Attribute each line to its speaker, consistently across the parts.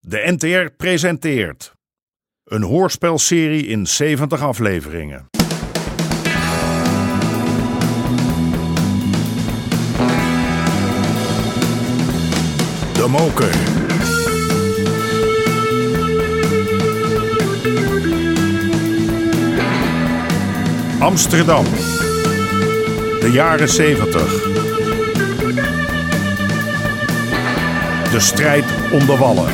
Speaker 1: De NTR presenteert een hoorspelserie in 70 afleveringen. De Moker. Amsterdam. De jaren 70. De strijd om de wallen.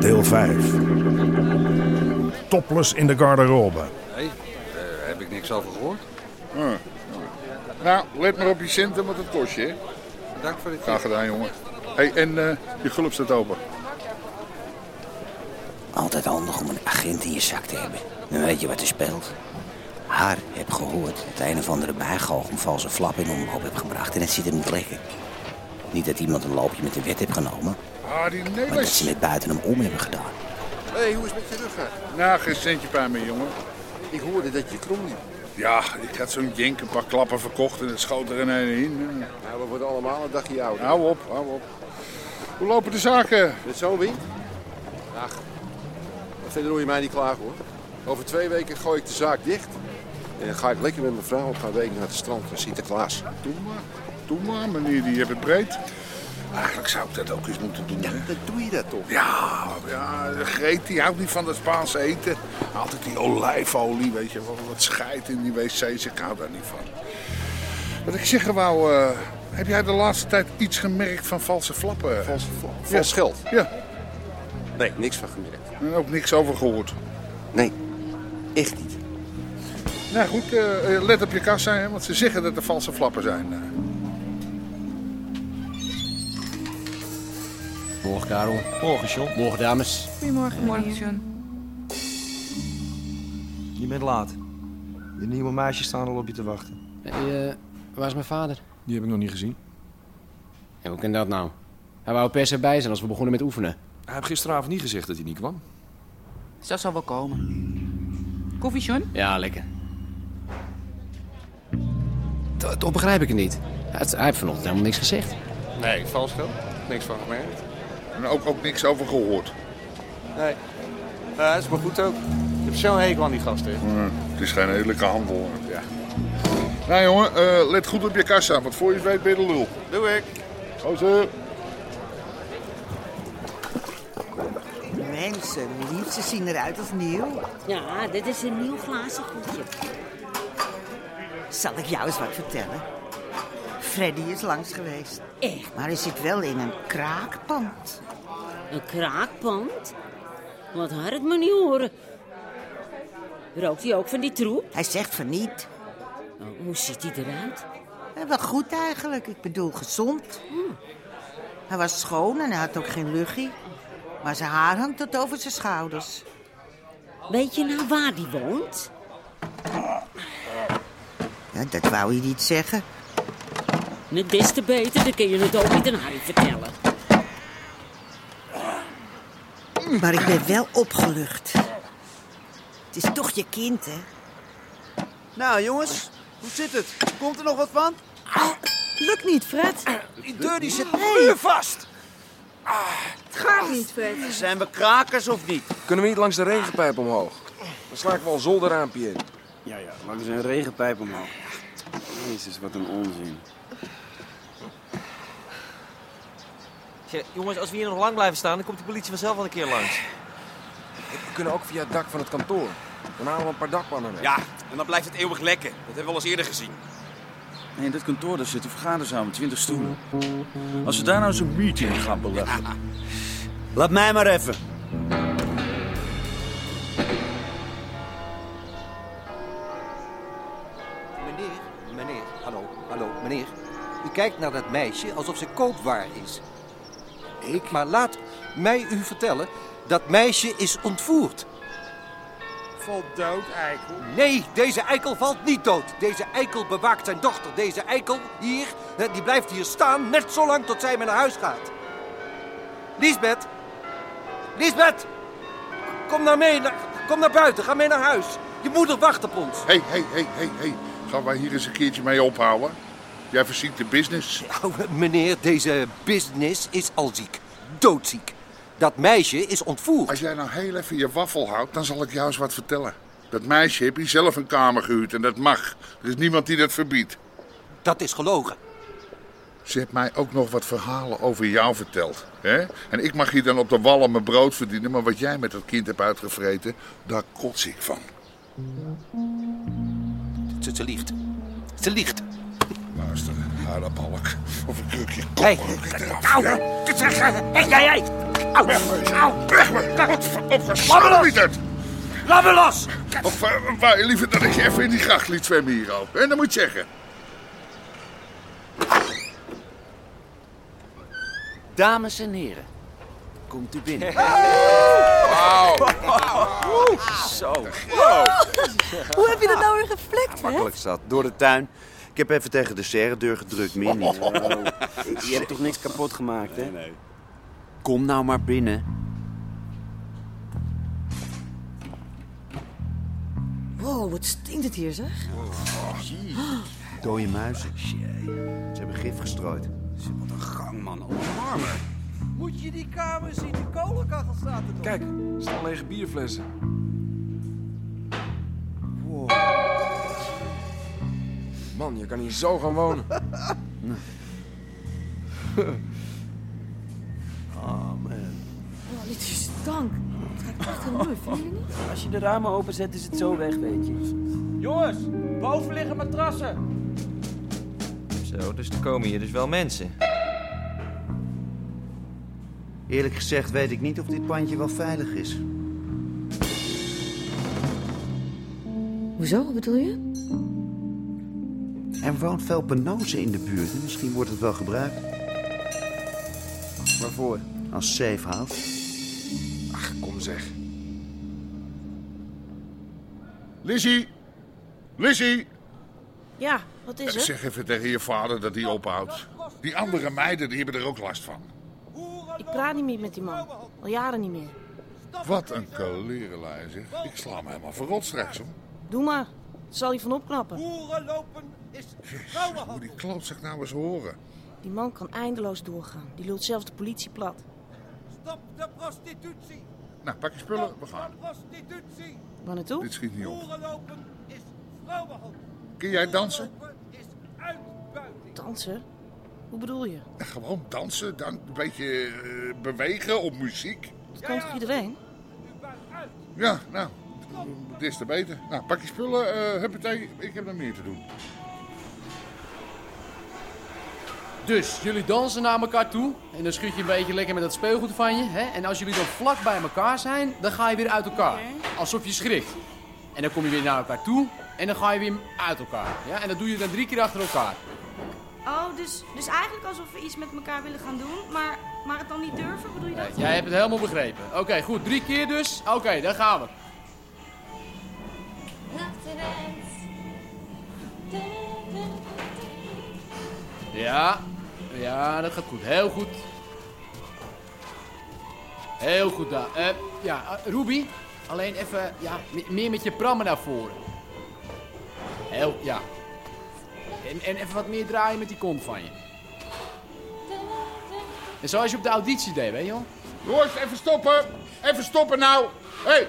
Speaker 1: Deel 5. Topless in de garderobe.
Speaker 2: Nee, daar heb ik niks over gehoord.
Speaker 3: Nou, let maar op je centen, want het kost je. hè.
Speaker 2: Dank voor dit.
Speaker 3: Graag gedaan, jongen. hey, en eh, je gulp staat open.
Speaker 4: Altijd handig om een agent in je zak te hebben. Dan weet je wat er speelt. Haar heb gehoord dat een of andere bijgalg een valse flap in omloop heeft gebracht en het zit hem niet lekker. Niet dat iemand een loopje met de wet heeft genomen,
Speaker 3: Ah, die
Speaker 4: maar dat ze
Speaker 3: Nederlands.
Speaker 4: met buiten hem om hebben gedaan.
Speaker 5: Hé, hey, hoe is het met je rug? hè?
Speaker 3: Nou, geen centje pijn meer, jongen.
Speaker 5: Ik hoorde dat je krom liep.
Speaker 3: Ja, ik had zo'n jenk een paar klappen verkocht en het schoot er in een in. Eh,
Speaker 5: Nou, we worden allemaal een dagje ouder.
Speaker 3: Hou op, hou op. Hoe lopen de zaken?
Speaker 5: Met zo'n wind? Ach, verder hoor je mij niet klagen hoor. Over twee weken gooi ik de zaak dicht. En dan ga ik lekker met mijn vrouw een paar weken naar het strand van Sinterklaas.
Speaker 3: Doe maar, doe maar, meneer, die hebt het breed. Eigenlijk zou ik dat ook eens moeten doen, hè?
Speaker 5: Dat doe je dat toch?
Speaker 3: Ja, ja, de Greet die houdt niet van dat Spaanse eten. Altijd die olijfolie, weet je, wat, wat scheidt in die wc's. Ik hou daar niet van. Wat ik zeggen wou, eh, heb jij de laatste tijd iets gemerkt van valse flappen?
Speaker 5: Vals, vals
Speaker 3: Ja.
Speaker 5: geld.
Speaker 3: Ja,
Speaker 5: Nee, niks van gemerkt.
Speaker 3: en ook niks over gehoord.
Speaker 5: Nee, echt niet.
Speaker 3: Nou goed, eh, eh, let op je kassa, hè, want ze zeggen dat er valse flappen zijn. eh.
Speaker 6: Morgen, Karel.
Speaker 2: Morgen, John.
Speaker 6: Morgen, dames.
Speaker 7: Goedemorgen, Morgen, John.
Speaker 8: Je bent laat. De nieuwe meisjes staan al op je te wachten.
Speaker 6: Hey, eh, waar is mijn vader?
Speaker 8: Die heb ik nog niet gezien.
Speaker 6: Ja, hoe kan dat nou? Hij wou per se bij zijn als we begonnen met oefenen.
Speaker 8: Hij heeft gisteravond niet gezegd dat hij niet kwam.
Speaker 7: Dat zal wel komen. Koffie, John?
Speaker 6: Ja, lekker. To- Toch begrijp ik het niet. Het- Hij heeft vanochtend helemaal niks gezegd.
Speaker 2: Nee, vals geld. Niks van gemerkt.
Speaker 3: En ook, ook niks over gehoord.
Speaker 2: Nee. Nou, dat is maar goed ook. Ik heb zo'n hekel aan die gasten.
Speaker 3: Eh, het is geen eerlijke handel. hè. Ja. Nou jongen, eh, let goed op je kassa, want voor je het weet ben je de lul.
Speaker 2: Doe ik.
Speaker 3: Gozer.
Speaker 9: Mensen, lief, ze zien eruit als nieuw.
Speaker 10: Ja, dit is een nieuw glazen goedje.
Speaker 9: Zal ik jou eens wat vertellen? Freddy is langs geweest.
Speaker 10: Echt?
Speaker 9: Maar hij zit wel in een kraakpand.
Speaker 10: Een kraakpand? Wat had het me niet horen. Rookt hij ook van die troep?
Speaker 9: Hij zegt van niet.
Speaker 10: Oh, hoe ziet hij eruit?
Speaker 9: Eh, Wel goed eigenlijk, ik bedoel gezond. Hij was schoon en hij had ook geen luchtje. Maar zijn haar hangt tot over zijn schouders.
Speaker 10: Weet je nou waar die woont?
Speaker 9: Ja, dat wou hij niet zeggen.
Speaker 10: Net Nou, des te beter, dan kun je het ook niet aan Harry vertellen.
Speaker 9: Maar ik ben wel opgelucht. Het is toch je kind, hè?
Speaker 5: Nou jongens, hoe zit het? Komt er nog wat van?
Speaker 9: Ah, Lukt niet, Fred.
Speaker 5: Die deur die zit muurvast.
Speaker 7: Gaat niet, Fred.
Speaker 5: Zijn we krakers of niet?
Speaker 8: Kunnen we niet langs de regenpijp omhoog? Dan sla ik wel een zolderraampje in.
Speaker 11: Ja, ja, langs een regenpijp omhoog. Jezus, wat een onzin.
Speaker 8: jongens, als we hier nog lang blijven staan, dan komt de politie vanzelf wel een keer langs. We kunnen ook via het dak van het kantoor. Dan halen we een paar dakpannen weg.
Speaker 11: Ja, en dan blijft het eeuwig lekker. Dat hebben we al eens eerder gezien. Nee, in dit kantoor daar zit een vergaderzaal met 20 stoelen. Als we daar nou eens een meeting gaan beleggen. Laat mij maar even.
Speaker 5: Meneer, meneer, hallo, hallo, meneer. U kijkt naar dat meisje alsof ze koopwaar is. Ik? Maar laat mij u vertellen, dat meisje is ontvoerd.
Speaker 3: Valt dood, eikel.
Speaker 5: Nee, deze eikel valt niet dood. Deze eikel bewaakt zijn dochter. Deze eikel hier, hè, die blijft hier staan net zo lang tot zij mee naar huis gaat. Lisbeth! Lisbeth! Kom nou mee, na- Kom naar buiten, ga mee naar huis. Je moeder wacht op ons.
Speaker 3: Hé, hé, hé, hé, hé. Gaan wij hier eens een keertje mee ophouden? Jij verziekt de business.
Speaker 5: Nou, Meneer, deze business is al ziek. Doodziek. Dat meisje is ontvoerd.
Speaker 3: Als jij nou heel even je waffel houdt, dan zal ik jou eens wat vertellen. Dat meisje heb je zelf een kamer gehuurd en dat mag. Er is niemand die dat verbiedt.
Speaker 5: Dat is gelogen.
Speaker 3: Ze heeft mij ook nog wat verhalen over jou verteld. Hè? En ik mag hier dan op de wallen mijn brood verdienen, maar wat jij met dat kind hebt uitgevreten, daar kots ik van.
Speaker 5: Ze, ze liegt. Ze liegt.
Speaker 3: Luister, aardappalk. Of een krukje kop.
Speaker 5: Hey.
Speaker 3: Au!
Speaker 12: Hé, jij, jij! Au! Au!
Speaker 3: Weg me! niet het!
Speaker 12: Laat me los!
Speaker 3: Of eh, wou je liever dat ik je even in die gracht liet zwemmen hier al? En dat moet je zeggen.
Speaker 13: Dames en heren, komt u binnen.
Speaker 3: Wauw!
Speaker 13: Zo.
Speaker 14: Hoe heb je dat nou weer geflikt, hè?
Speaker 13: Makkelijk zat. Door de tuin. Ik heb even tegen de serredeur gedrukt, meer niet. Oh. Je hebt toch niks kapot gemaakt, hè? Kom nou maar binnen.
Speaker 14: Wow, wat stinkt het hier, zeg?
Speaker 13: Dode muizen. Ze hebben gif gestrooid. Wat een gang, man.
Speaker 12: Moet je die kamer zien? Die kolenkachel staat er nog.
Speaker 8: Kijk, er staan lege bierflessen. Man, je kan hier zo gaan wonen.
Speaker 14: Oh, dit is stank. Het ruikt echt heel mooi, vinden jullie niet?
Speaker 13: Als je de ramen openzet, is het zo weg, weet je.
Speaker 12: Jongens, boven liggen matrassen.
Speaker 8: Zo, dus er komen hier dus wel mensen.
Speaker 13: Eerlijk gezegd weet ik niet of dit pandje wel veilig is.
Speaker 14: Hoezo, bedoel je?
Speaker 13: Er woont veel penose in de buurt. Misschien wordt het wel gebruikt. Waarvoor? Als safe house. Ach, kom zeg.
Speaker 3: Lizzie! Lizzie! Eh,
Speaker 14: Ja, wat is er?
Speaker 3: Zeg even tegen je vader dat hij ophoudt. Die andere meiden die hebben er ook last van.
Speaker 14: Ik praat niet meer met die man. Al jaren niet meer.
Speaker 3: Wat een kalerenlijn zeg. Ik sla hem helemaal verrot straks hoor.
Speaker 14: Doe maar. Zal hij van opknappen?
Speaker 12: lopen is
Speaker 3: Moet die klootzak nou eens horen.
Speaker 14: Die man kan eindeloos doorgaan. Die lult zelfs de politie plat.
Speaker 12: Stop de prostitutie.
Speaker 3: Nou, pak je spullen, we gaan.
Speaker 12: Prostitutie.
Speaker 14: Waar naartoe?
Speaker 3: Dit schiet niet op.
Speaker 12: Boerenlopen is vrouwenhandel.
Speaker 3: Kun jij dansen?
Speaker 14: Dansen? Hoe bedoel je?
Speaker 3: Gewoon dansen, dan een beetje eh, bewegen op muziek.
Speaker 14: Dat kan toch iedereen?
Speaker 3: Ja, nou, eh, des te beter. Nou, pak je spullen, eh huppatee, ik heb nog meer te doen.
Speaker 15: Dus, jullie dansen naar elkaar toe. En dan schud je een beetje lekker met dat speelgoed van je. Hè? En als jullie dan vlak bij elkaar zijn, dan ga je weer uit elkaar. Alsof je schrikt. En dan kom je weer naar elkaar toe. En dan ga je weer uit elkaar. Ja? En dat doe je dan drie keer achter elkaar.
Speaker 16: Oh, dus, dus eigenlijk alsof we iets met elkaar willen gaan doen, maar, maar het dan niet durven, bedoel je dat?
Speaker 15: Jij hebt het helemaal begrepen. Oké, goed. Drie keer dus. Oké, daar gaan we. Ja, ja, dat gaat goed. Heel goed. Heel goed daar. Eh, ja, eh, Ruby, alleen even ja, me- meer met je prammen naar voren. Heel, ja. En, en even wat meer draaien met die kont van je. En zoals je op de auditie deed, weet je wel?
Speaker 3: Jongens, even stoppen! Even stoppen nou! Hé! Hey.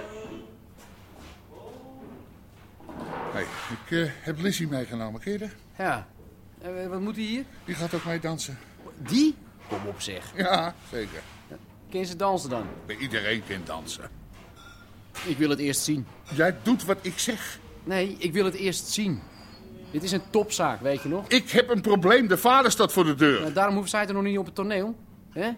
Speaker 3: Hey, ik eh, heb Lizzie meegenomen, ken je haar?
Speaker 15: Ja. Eh, wat moet die hier?
Speaker 3: Die gaat ook mee dansen.
Speaker 15: Die? Kom op zeg.
Speaker 3: Ja, zeker.
Speaker 15: Ken ze dansen dan?
Speaker 3: Iedereen kan dansen.
Speaker 15: Ik wil het eerst zien.
Speaker 3: Jij doet wat ik zeg.
Speaker 15: Nee, ik wil het eerst zien. Dit is een topzaak, weet je nog?
Speaker 3: Ik heb een probleem, de vader staat voor de deur.
Speaker 15: Nou, daarom hoeft zij er nog niet op het toneel. Hè?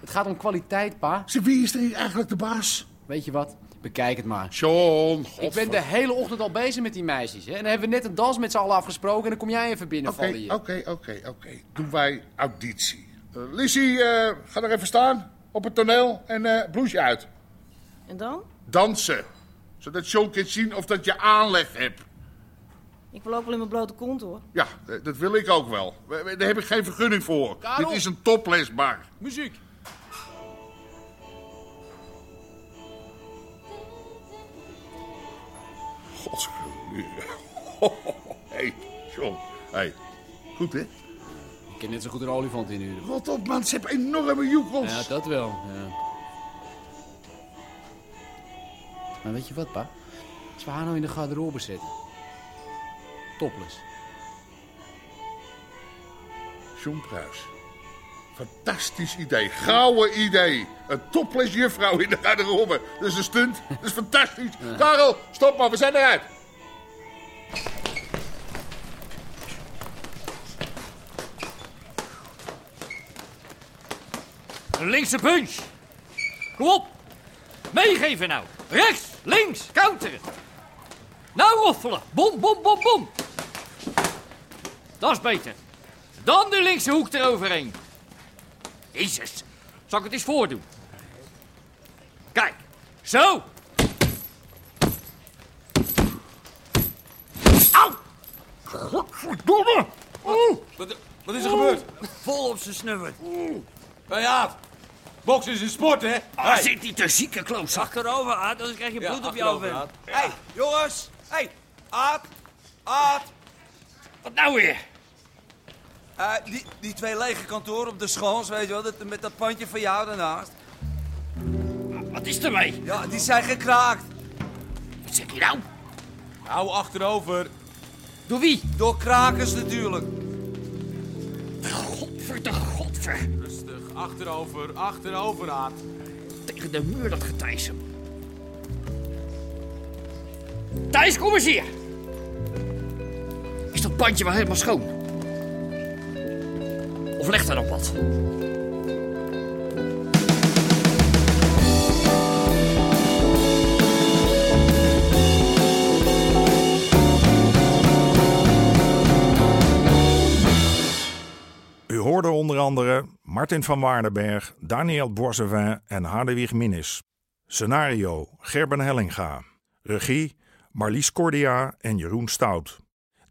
Speaker 15: Het gaat om kwaliteit, pa.
Speaker 3: Wie is er hier eigenlijk de baas?
Speaker 15: Weet je wat? Bekijk het maar.
Speaker 3: John,
Speaker 15: Ik ben de hele ochtend al bezig met die meisjes. Hè? En dan hebben we net een dans met z'n allen afgesproken. En dan kom jij even binnenvallen
Speaker 3: Oké,
Speaker 15: hier.
Speaker 3: oké, oké, oké. Doen wij auditie. Eh, Lizzie, eh, ga er even staan op het toneel en eh bloesje uit.
Speaker 14: En dan?
Speaker 3: Dansen. Zodat John kan zien of dat je aanleg hebt.
Speaker 14: Ik wil ook wel in mijn blote kont, hoor.
Speaker 3: Ja, eh, dat wil ik ook wel. We- we- Daar heb ik geen vergunning voor.
Speaker 14: Karel!
Speaker 3: Dit is een toplesbar.
Speaker 15: Muziek.
Speaker 3: Godsgelukkig. Hé, hey, John. Hé, goed hè?
Speaker 15: Ik kan net zo goed een olifant inhuren.
Speaker 3: Rot op man, ze hebben enorme joekels.
Speaker 15: Ja, dat wel. Ja. Maar weet je wat, pa? Als we haar nou in de garderobe zetten. Topless.
Speaker 3: John Pruis. Fantastisch idee. Gouden idee. Een topless juffrouw in de garderobe. Dat is een stunt. Dat is fantastisch. Karel, stop maar. We zijn eruit.
Speaker 5: Een linkse punch. Kom op. Meegeven nou. Rechts, links, counteren. Nou roffelen. Bom, bom, bom, bom. Dat is beter. Dan de linkse hoek eroverheen. Jezus. Zal ik het eens voordoen? Kijk. Zo. Au. Godverdomme.
Speaker 17: Wat, wat is er gebeurd?
Speaker 5: Vol op zijn snuffer.
Speaker 17: Hé Aaf, boksen is een sport, hè?
Speaker 5: Ah, zit die te zieke klootzak.
Speaker 17: Achterover, Aad, anders krijg je
Speaker 5: bloed op je oven.
Speaker 17: Hé, hey, jongens! Hé, hey, Aad! Aad!
Speaker 5: Wat nou weer?
Speaker 17: die, die twee lege kantoren op de schoons, weet je wel, dat, met dat pandje van jou daarnaast.
Speaker 5: Wat is ermee?
Speaker 17: Ja, die zijn gekraakt.
Speaker 5: Wat zeg je nou?
Speaker 17: Hou achterover.
Speaker 5: Door wie?
Speaker 17: Door krakers natuurlijk.
Speaker 5: Godver de godver.
Speaker 17: Rustig, achterover, achterover, Aad.
Speaker 5: Tegen de muur dat getijzen. Thijs, kom eens hier. Is dat bandje wel helemaal schoon? Of ligt er nog wat?
Speaker 1: U hoorde onder andere Martin van Waardenberg, Daniel Boisevin en Hadewig Minnis. Scenario Gerben Hellinga. Regie Marlies Cordia en Jeroen Stout.